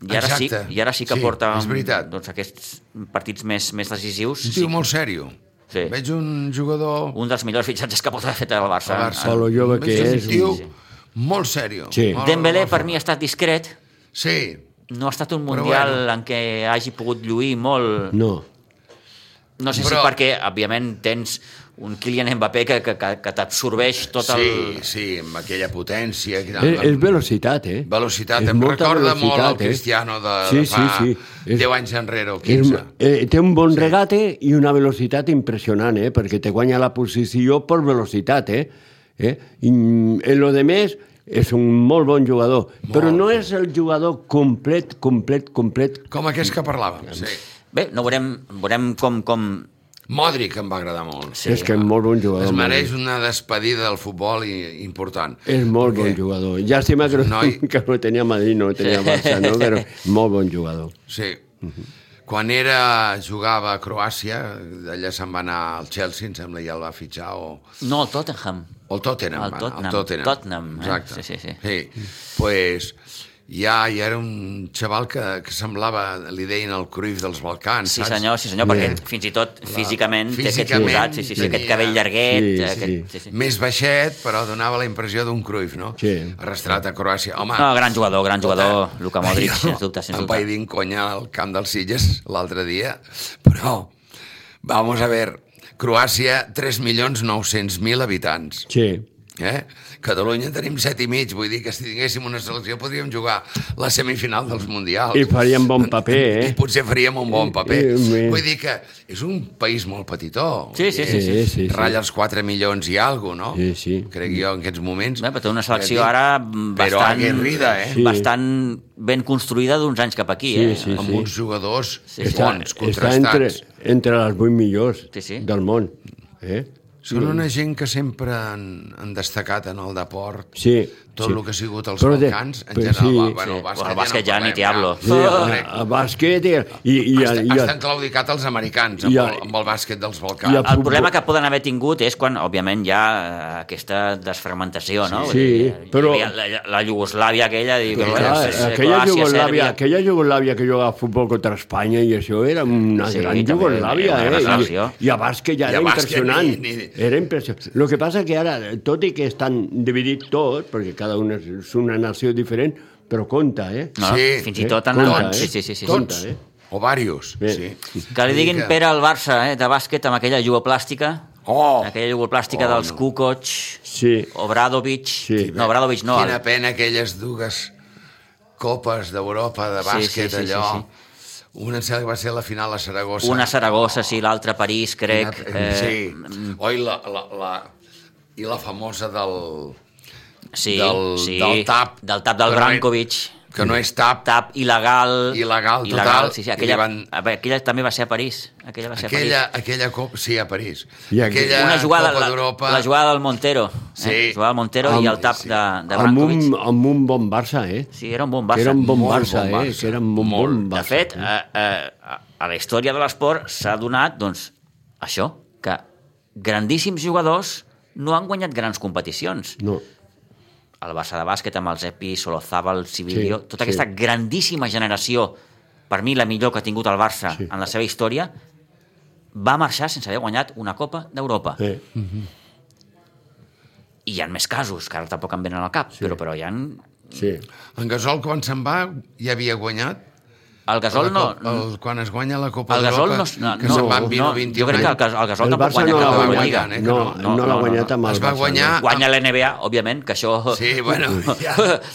[SPEAKER 1] i ara, sí,
[SPEAKER 2] Exacte.
[SPEAKER 1] i ara sí que
[SPEAKER 2] Sí,
[SPEAKER 1] porta
[SPEAKER 2] és veritat.
[SPEAKER 1] doncs, aquests partits més, més decisius.
[SPEAKER 2] Un
[SPEAKER 1] Sí.
[SPEAKER 2] tio molt sèrio.
[SPEAKER 1] Sí.
[SPEAKER 2] Veig un jugador...
[SPEAKER 1] Un dels millors fitxatges que pot haver fet el Barça.
[SPEAKER 2] el Barça.
[SPEAKER 3] Solo jove que
[SPEAKER 2] És
[SPEAKER 3] és,
[SPEAKER 2] un tio
[SPEAKER 3] sí,
[SPEAKER 2] molt sèrio.
[SPEAKER 3] Sí.
[SPEAKER 2] Molt-
[SPEAKER 1] Dembélé
[SPEAKER 2] molt
[SPEAKER 1] per mi ha estat discret,
[SPEAKER 2] fort. Sí,
[SPEAKER 1] no ha estat un
[SPEAKER 2] Però
[SPEAKER 1] mundial
[SPEAKER 2] bueno.
[SPEAKER 1] en què hagi pogut lluir molt.
[SPEAKER 3] No.
[SPEAKER 1] No sé
[SPEAKER 2] Però-
[SPEAKER 1] si perquè, òbviament, tens un Kylian Mbappé que, que, que, que t'absorbeix tot
[SPEAKER 2] sí,
[SPEAKER 1] el...
[SPEAKER 2] sí, amb aquella potència...
[SPEAKER 3] Ah, és, és velocitat, eh?
[SPEAKER 2] Velocitat,
[SPEAKER 3] És
[SPEAKER 2] em
[SPEAKER 3] molta
[SPEAKER 2] recorda molt el
[SPEAKER 3] velocitat, eh?
[SPEAKER 2] Cristiano de,
[SPEAKER 3] sí,
[SPEAKER 2] de fa
[SPEAKER 3] sí, sí.
[SPEAKER 2] 10 anys enrere o
[SPEAKER 3] És,
[SPEAKER 2] 15.
[SPEAKER 3] eh, té un bon sí. regate i una velocitat impressionant, eh? perquè te guanya la posició per velocitat. Eh? Eh? I mm, en lo de més és un molt bon jugador, molt. però no és el jugador complet, complet, complet.
[SPEAKER 2] Com aquest que parlàvem, sí.
[SPEAKER 1] Bé, no veurem, veurem com, com...
[SPEAKER 2] Modric em va agradar molt.
[SPEAKER 3] Sí, és que és molt bon jugador.
[SPEAKER 2] Es mereix
[SPEAKER 3] Modric.
[SPEAKER 2] una despedida del futbol i, important.
[SPEAKER 3] És molt bon jugador. Llàstima que, no,
[SPEAKER 2] Noi-
[SPEAKER 3] que no tenia Madrid, no tenia Barça, no? però molt bon jugador.
[SPEAKER 2] Sí.
[SPEAKER 3] Mhm.
[SPEAKER 2] Quan era, jugava a Croàcia, d'allà se'n va anar al Chelsea, em sembla, i el va fitxar, o,
[SPEAKER 1] No, el Tottenham.
[SPEAKER 2] o el Tottenham.
[SPEAKER 1] El
[SPEAKER 2] va,
[SPEAKER 1] Tottenham.
[SPEAKER 2] El Tottenham.
[SPEAKER 1] Tottenham, eh?
[SPEAKER 2] Exacte.
[SPEAKER 1] Sí, sí, sí.
[SPEAKER 2] sí. Pues, ja, ja era un xaval que, que semblava, li deien el Cruyff dels Balcans,
[SPEAKER 1] Sí
[SPEAKER 2] saps?
[SPEAKER 1] senyor, sí senyor, perquè fins i tot físicament, té aquest
[SPEAKER 2] Físicament
[SPEAKER 1] posat, sí, sí, sí, aquest
[SPEAKER 2] tenia-
[SPEAKER 1] cabell llarguet,
[SPEAKER 3] Sí,
[SPEAKER 1] eh, aquest,
[SPEAKER 3] sí.
[SPEAKER 1] sí, sí.
[SPEAKER 2] Més baixet, però donava la impressió d'un Cruyff, no?
[SPEAKER 3] Sí.
[SPEAKER 2] Arrastrat a Croàcia. Home, tota-
[SPEAKER 1] No, gran jugador, gran Ah, jugador, Luka Modric,
[SPEAKER 2] jo
[SPEAKER 1] sens dubte, sens
[SPEAKER 2] Em
[SPEAKER 1] dubte.
[SPEAKER 2] vaig dir en conya al camp dels Sitges l'altre dia, però, vamos a ver, Croàcia, 3.900.000 habitants.
[SPEAKER 3] Sí.
[SPEAKER 2] Eh? Catalunya en tenim set i mig, vull dir que si tinguéssim una selecció podríem jugar la semifinal dels Mundials.
[SPEAKER 3] I faríem bon paper, eh?
[SPEAKER 2] Oh. I potser faríem un bon paper.
[SPEAKER 3] Eh, eh,
[SPEAKER 2] Vull dir que és un país molt petitó.
[SPEAKER 1] Sí, sí, sí, sí.
[SPEAKER 3] Sí, sí, sí.
[SPEAKER 2] Ratlla els 4 milions i algo, no?
[SPEAKER 3] Sí, sí.
[SPEAKER 2] Crec jo en aquests moments. Eh,
[SPEAKER 1] Bé, però té una selecció ara bastant...
[SPEAKER 2] Però aguerrida, eh?
[SPEAKER 3] Sí.
[SPEAKER 1] Bastant ben construïda d'uns anys cap aquí, eh?
[SPEAKER 3] Sí,
[SPEAKER 2] Amb
[SPEAKER 3] sí.
[SPEAKER 2] uns jugadors
[SPEAKER 1] Sí, sí.
[SPEAKER 2] bons,
[SPEAKER 3] Està entre,
[SPEAKER 2] contrastats.
[SPEAKER 3] entre les 8 millors
[SPEAKER 1] Sí, sí.
[SPEAKER 3] del món. Eh?
[SPEAKER 2] Són una gent que sempre han, han destacat en el deport.
[SPEAKER 3] Sí.
[SPEAKER 2] Tot
[SPEAKER 3] sí.
[SPEAKER 2] el que ha sigut els
[SPEAKER 3] Però de-
[SPEAKER 2] Balcans, en general,
[SPEAKER 3] però sí.
[SPEAKER 2] va- bueno, el
[SPEAKER 1] Sí.
[SPEAKER 2] bàsquet,
[SPEAKER 1] El bàsquet ja ni
[SPEAKER 2] parlem,
[SPEAKER 1] te hablo.
[SPEAKER 3] Sí,
[SPEAKER 2] Jo
[SPEAKER 3] el,
[SPEAKER 2] crec-
[SPEAKER 3] el bàsquet i, i, i,
[SPEAKER 2] I,
[SPEAKER 3] i,
[SPEAKER 2] Estan,
[SPEAKER 3] i,
[SPEAKER 2] estan claudicat els americans amb,
[SPEAKER 3] i el-
[SPEAKER 2] el, amb el bàsquet dels
[SPEAKER 3] i
[SPEAKER 2] Balcans.
[SPEAKER 3] el-
[SPEAKER 1] El problema que poden haver tingut és quan, òbviament, hi ha eh, aquesta desfragmentació, no?
[SPEAKER 3] Sí,
[SPEAKER 1] Vull dir,
[SPEAKER 3] però-
[SPEAKER 1] hi havia La, la Iugoslàvia aquella... Dic,
[SPEAKER 2] Però,
[SPEAKER 1] bueno, pues, eh,
[SPEAKER 3] Clar,
[SPEAKER 1] és- és
[SPEAKER 3] Ah, aquella,
[SPEAKER 1] Croàcia,
[SPEAKER 3] Jugoslàvia,
[SPEAKER 1] Sèrbia.
[SPEAKER 3] aquella Jugoslàvia que jugava a futbol contra Espanya i això era una
[SPEAKER 1] Sí,
[SPEAKER 3] sí, gran
[SPEAKER 1] també,
[SPEAKER 3] Jugoslàvia,
[SPEAKER 1] era una gran
[SPEAKER 3] eh? I,
[SPEAKER 1] selecció.
[SPEAKER 3] I a bàsquet ja
[SPEAKER 2] I a
[SPEAKER 3] era
[SPEAKER 2] bàsquet
[SPEAKER 3] impressionant.
[SPEAKER 2] ni- ni-
[SPEAKER 3] Era impressionant. El que passa que ara, tot i que estan dividit tot, perquè cada una és- és una nació diferent, però compta, eh?
[SPEAKER 1] No,
[SPEAKER 2] Sí,
[SPEAKER 1] fins
[SPEAKER 3] eh?
[SPEAKER 1] i tot en...
[SPEAKER 3] Compte,
[SPEAKER 1] en-
[SPEAKER 3] eh?
[SPEAKER 1] Sí, sí, sí, sí.
[SPEAKER 3] Compte,
[SPEAKER 2] Tots,
[SPEAKER 3] eh?
[SPEAKER 2] o varios.
[SPEAKER 3] Bé.
[SPEAKER 2] Sí.
[SPEAKER 1] Que li diguin
[SPEAKER 2] Mica.
[SPEAKER 1] Pere al Barça, eh, de bàsquet, amb aquella jugoplàstica,
[SPEAKER 2] Oh!
[SPEAKER 1] aquella jugoplàstica
[SPEAKER 2] Oh,
[SPEAKER 1] dels
[SPEAKER 2] no.
[SPEAKER 1] Kukoc,
[SPEAKER 3] Sí.
[SPEAKER 1] Obradovic...
[SPEAKER 3] Sí.
[SPEAKER 1] No, Obradovic no.
[SPEAKER 2] Quina
[SPEAKER 1] el-
[SPEAKER 2] pena aquelles dues copes d'Europa de
[SPEAKER 1] Sí,
[SPEAKER 2] bàsquet,
[SPEAKER 1] sí, sí, sí,
[SPEAKER 2] allò. Una em sembla que va ser la final a Saragossa.
[SPEAKER 1] Una eh, a Saragossa, sí, l'altra a París, crec.
[SPEAKER 2] Una- eh,
[SPEAKER 1] mm.
[SPEAKER 2] Sí. Oi, la, la, la, i la famosa del...
[SPEAKER 1] sí,
[SPEAKER 2] del-
[SPEAKER 1] sí,
[SPEAKER 2] del tap.
[SPEAKER 1] Del tap del
[SPEAKER 2] Però no era-
[SPEAKER 1] Brankovic.
[SPEAKER 2] que no és tap,
[SPEAKER 1] tap il·legal.
[SPEAKER 2] Il·legal, total,
[SPEAKER 1] sí, sí,
[SPEAKER 2] i
[SPEAKER 1] aquella,
[SPEAKER 2] li van-
[SPEAKER 1] a veure, aquella també va ser a París. Aquella va ser a
[SPEAKER 2] aquella, aquella copa... Sí, a París.
[SPEAKER 3] I aquí-
[SPEAKER 2] aquella
[SPEAKER 1] París. Una jugada,
[SPEAKER 2] Copa
[SPEAKER 1] la,
[SPEAKER 2] d'Europa...
[SPEAKER 1] la jugada del Montero.
[SPEAKER 2] Sí.
[SPEAKER 1] Eh? La jugada del Montero
[SPEAKER 3] Amb-
[SPEAKER 1] i el tap
[SPEAKER 2] sí.
[SPEAKER 1] de, de
[SPEAKER 3] Amb
[SPEAKER 1] Brankovic.
[SPEAKER 3] un, amb un bon Barça, eh?
[SPEAKER 1] Sí, era un bon
[SPEAKER 3] Que
[SPEAKER 1] Barça.
[SPEAKER 3] era un bon
[SPEAKER 2] Molt
[SPEAKER 3] Barça,
[SPEAKER 2] bon
[SPEAKER 3] eh?
[SPEAKER 2] Barça.
[SPEAKER 3] Que era un bon, bon
[SPEAKER 1] De
[SPEAKER 3] Barça.
[SPEAKER 1] fet, eh. a, a, a la història de l'esport s'ha donat, doncs, això, que grandíssims jugadors no han guanyat grans competicions.
[SPEAKER 3] No.
[SPEAKER 1] el Barça de bàsquet amb el Zepi, Solozábal, Sibilio,
[SPEAKER 3] Sí,
[SPEAKER 1] sí, tota aquesta
[SPEAKER 3] sí.
[SPEAKER 1] grandíssima generació, per mi la millor que ha tingut el Barça sí.
[SPEAKER 3] Sí.
[SPEAKER 1] en la seva història, va marxar sense haver guanyat una Copa d'Europa. Sí.
[SPEAKER 3] Eh?
[SPEAKER 1] I hi ha més casos, que ara tampoc em venen al cap, sí. però, però hi ha...
[SPEAKER 3] Sí.
[SPEAKER 2] En Gasol, quan se'n va, ja havia guanyat?
[SPEAKER 1] El Gasol
[SPEAKER 2] La
[SPEAKER 1] no...
[SPEAKER 2] Copa- el, quan es guanya la Copa
[SPEAKER 1] El Gasol no...
[SPEAKER 2] d'Europa,
[SPEAKER 1] no,
[SPEAKER 2] que
[SPEAKER 1] no,
[SPEAKER 2] se'n van 20
[SPEAKER 1] no
[SPEAKER 2] o 21
[SPEAKER 1] jo crec que el,
[SPEAKER 2] anys.
[SPEAKER 1] Gas- el Gasol
[SPEAKER 3] el
[SPEAKER 1] tampoc
[SPEAKER 3] Barça
[SPEAKER 1] guanya
[SPEAKER 3] no l'ha
[SPEAKER 1] cap
[SPEAKER 2] guanyat,
[SPEAKER 1] Euroliga.
[SPEAKER 2] eh, que
[SPEAKER 3] No,
[SPEAKER 2] no.
[SPEAKER 3] no, l'ha guanyat amb el
[SPEAKER 2] Es va
[SPEAKER 3] Barça.
[SPEAKER 2] guanyar
[SPEAKER 3] no.
[SPEAKER 1] Guanya la NBA, òbviament, que això...
[SPEAKER 2] Sí, bueno, ja.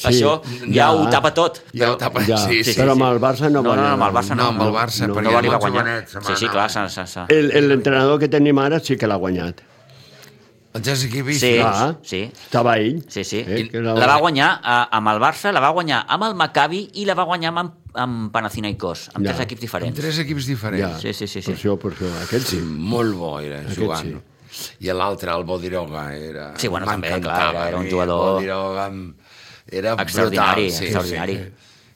[SPEAKER 1] això
[SPEAKER 3] Sí,
[SPEAKER 1] ja, ja
[SPEAKER 3] ja.
[SPEAKER 1] ho tapa tot.
[SPEAKER 2] Ja ho tapa,
[SPEAKER 3] Ja,
[SPEAKER 2] sí, sí.
[SPEAKER 3] però amb el Barça
[SPEAKER 1] no,
[SPEAKER 3] no
[SPEAKER 1] no,
[SPEAKER 3] guanya.
[SPEAKER 1] no, amb el Barça no.
[SPEAKER 2] No, amb el Barça,
[SPEAKER 1] no,
[SPEAKER 2] perquè
[SPEAKER 1] no,
[SPEAKER 2] era
[SPEAKER 1] li va
[SPEAKER 2] molt
[SPEAKER 1] guanyar.
[SPEAKER 2] jovenet, se'n va
[SPEAKER 1] Sí, sí,
[SPEAKER 2] anar.
[SPEAKER 1] clar, s'ha... s'ha- s'ha-
[SPEAKER 3] El- el- L'entrenador que tenim ara sí que l'ha guanyat.
[SPEAKER 2] El Jessica
[SPEAKER 1] Sí,
[SPEAKER 2] Bifi.
[SPEAKER 3] Clar,
[SPEAKER 1] sí.
[SPEAKER 3] Estava ell.
[SPEAKER 1] Sí, sí.
[SPEAKER 3] Eh, que
[SPEAKER 1] la va guanyar eh, amb el Barça, la va guanyar amb el Maccabi i la va guanyar amb, amb Panathinaikos, amb
[SPEAKER 3] Ja.
[SPEAKER 1] tres equips
[SPEAKER 2] Amb
[SPEAKER 1] diferents.
[SPEAKER 2] tres equips
[SPEAKER 3] Ja,
[SPEAKER 2] diferents.
[SPEAKER 1] Sí, sí, sí, sí.
[SPEAKER 3] Per això, per això. Aquest sí.
[SPEAKER 2] Molt bo era jugant.
[SPEAKER 3] sí.
[SPEAKER 2] I l'altre, el Bodiroga, era...
[SPEAKER 1] Sí, bueno, també,
[SPEAKER 2] m'encantava,
[SPEAKER 1] clar, era- era un
[SPEAKER 2] eh?
[SPEAKER 1] jugador-
[SPEAKER 2] El Bodiroga em- era
[SPEAKER 1] Extraordinari,
[SPEAKER 2] brutal.
[SPEAKER 1] extraordinari.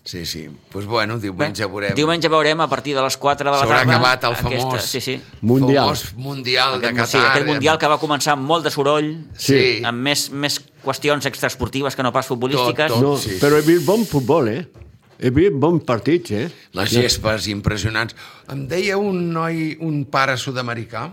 [SPEAKER 2] Sí, sí. sí. Pues bueno, diumenge veurem.
[SPEAKER 1] Diumenge veurem a partir de les 4 de la
[SPEAKER 2] S'haurà
[SPEAKER 1] tarda.
[SPEAKER 2] acabat el
[SPEAKER 1] aquesta-
[SPEAKER 2] famós,
[SPEAKER 1] Sí, sí.
[SPEAKER 3] Mundial.
[SPEAKER 2] famós mundial de
[SPEAKER 1] Aquest,
[SPEAKER 2] Qatar. eh?
[SPEAKER 1] sí, aquest mundial que va començar amb molt de soroll,
[SPEAKER 2] Sí.
[SPEAKER 3] Sí.
[SPEAKER 1] amb més, més qüestions extraesportives que no pas futbolístiques.
[SPEAKER 2] Tot, tot.
[SPEAKER 3] No,
[SPEAKER 2] Sí.
[SPEAKER 3] però he vist bon futbol, eh? He vist bons partits, eh?
[SPEAKER 2] Les gespes impressionants. Em deia un noi, un pare sud-americà,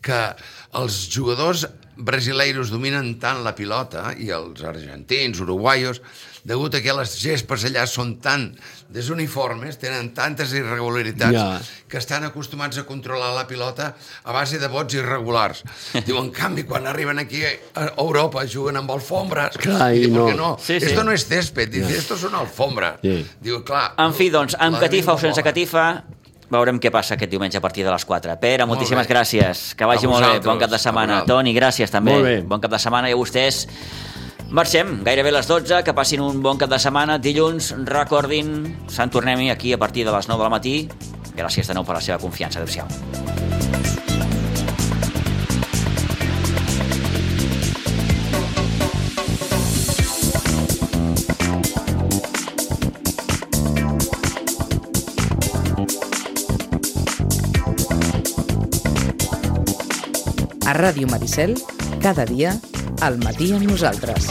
[SPEAKER 2] que els jugadors brasileiros dominen tant la pilota, i els argentins, uruguaios, degut a que les gespes allà són tan desuniformes, tenen tantes irregularitats,
[SPEAKER 3] Ja.
[SPEAKER 2] que estan acostumats a controlar la pilota a base de vots irregulars. Diu, en canvi, quan arriben aquí a Europa, juguen amb alfombres.
[SPEAKER 3] Clar, i
[SPEAKER 2] diu, "Per
[SPEAKER 3] no."
[SPEAKER 2] què no?
[SPEAKER 1] Sí, sí.
[SPEAKER 2] Esto no es césped, dice, esto es una alfombra.
[SPEAKER 3] Sí.
[SPEAKER 2] Diu, clar...
[SPEAKER 1] En fi, doncs, amb
[SPEAKER 2] la
[SPEAKER 1] catifa o
[SPEAKER 2] gringa
[SPEAKER 1] sense
[SPEAKER 2] mola.
[SPEAKER 1] catifa, veurem què passa aquest diumenge a partir de les 4. Pere,
[SPEAKER 2] Molt
[SPEAKER 1] moltíssimes
[SPEAKER 2] bé.
[SPEAKER 1] gràcies. Que vagi
[SPEAKER 2] A
[SPEAKER 1] molt bé.
[SPEAKER 2] vosaltres,
[SPEAKER 1] Bon cap de
[SPEAKER 2] a
[SPEAKER 1] setmana.
[SPEAKER 2] vosaltres.
[SPEAKER 1] Toni, gràcies també.
[SPEAKER 3] Molt bé.
[SPEAKER 1] Bon cap de setmana i a vostès. Marxem, gairebé les 12, que passin un bon cap de setmana. Dilluns, recordin, Sant Tornem-hi aquí a partir de les 9 del matí. Gràcies de nou per la seva confiança. Adéu-siau.
[SPEAKER 4] A Ràdio Maricel, cada dia, al matí amb nosaltres.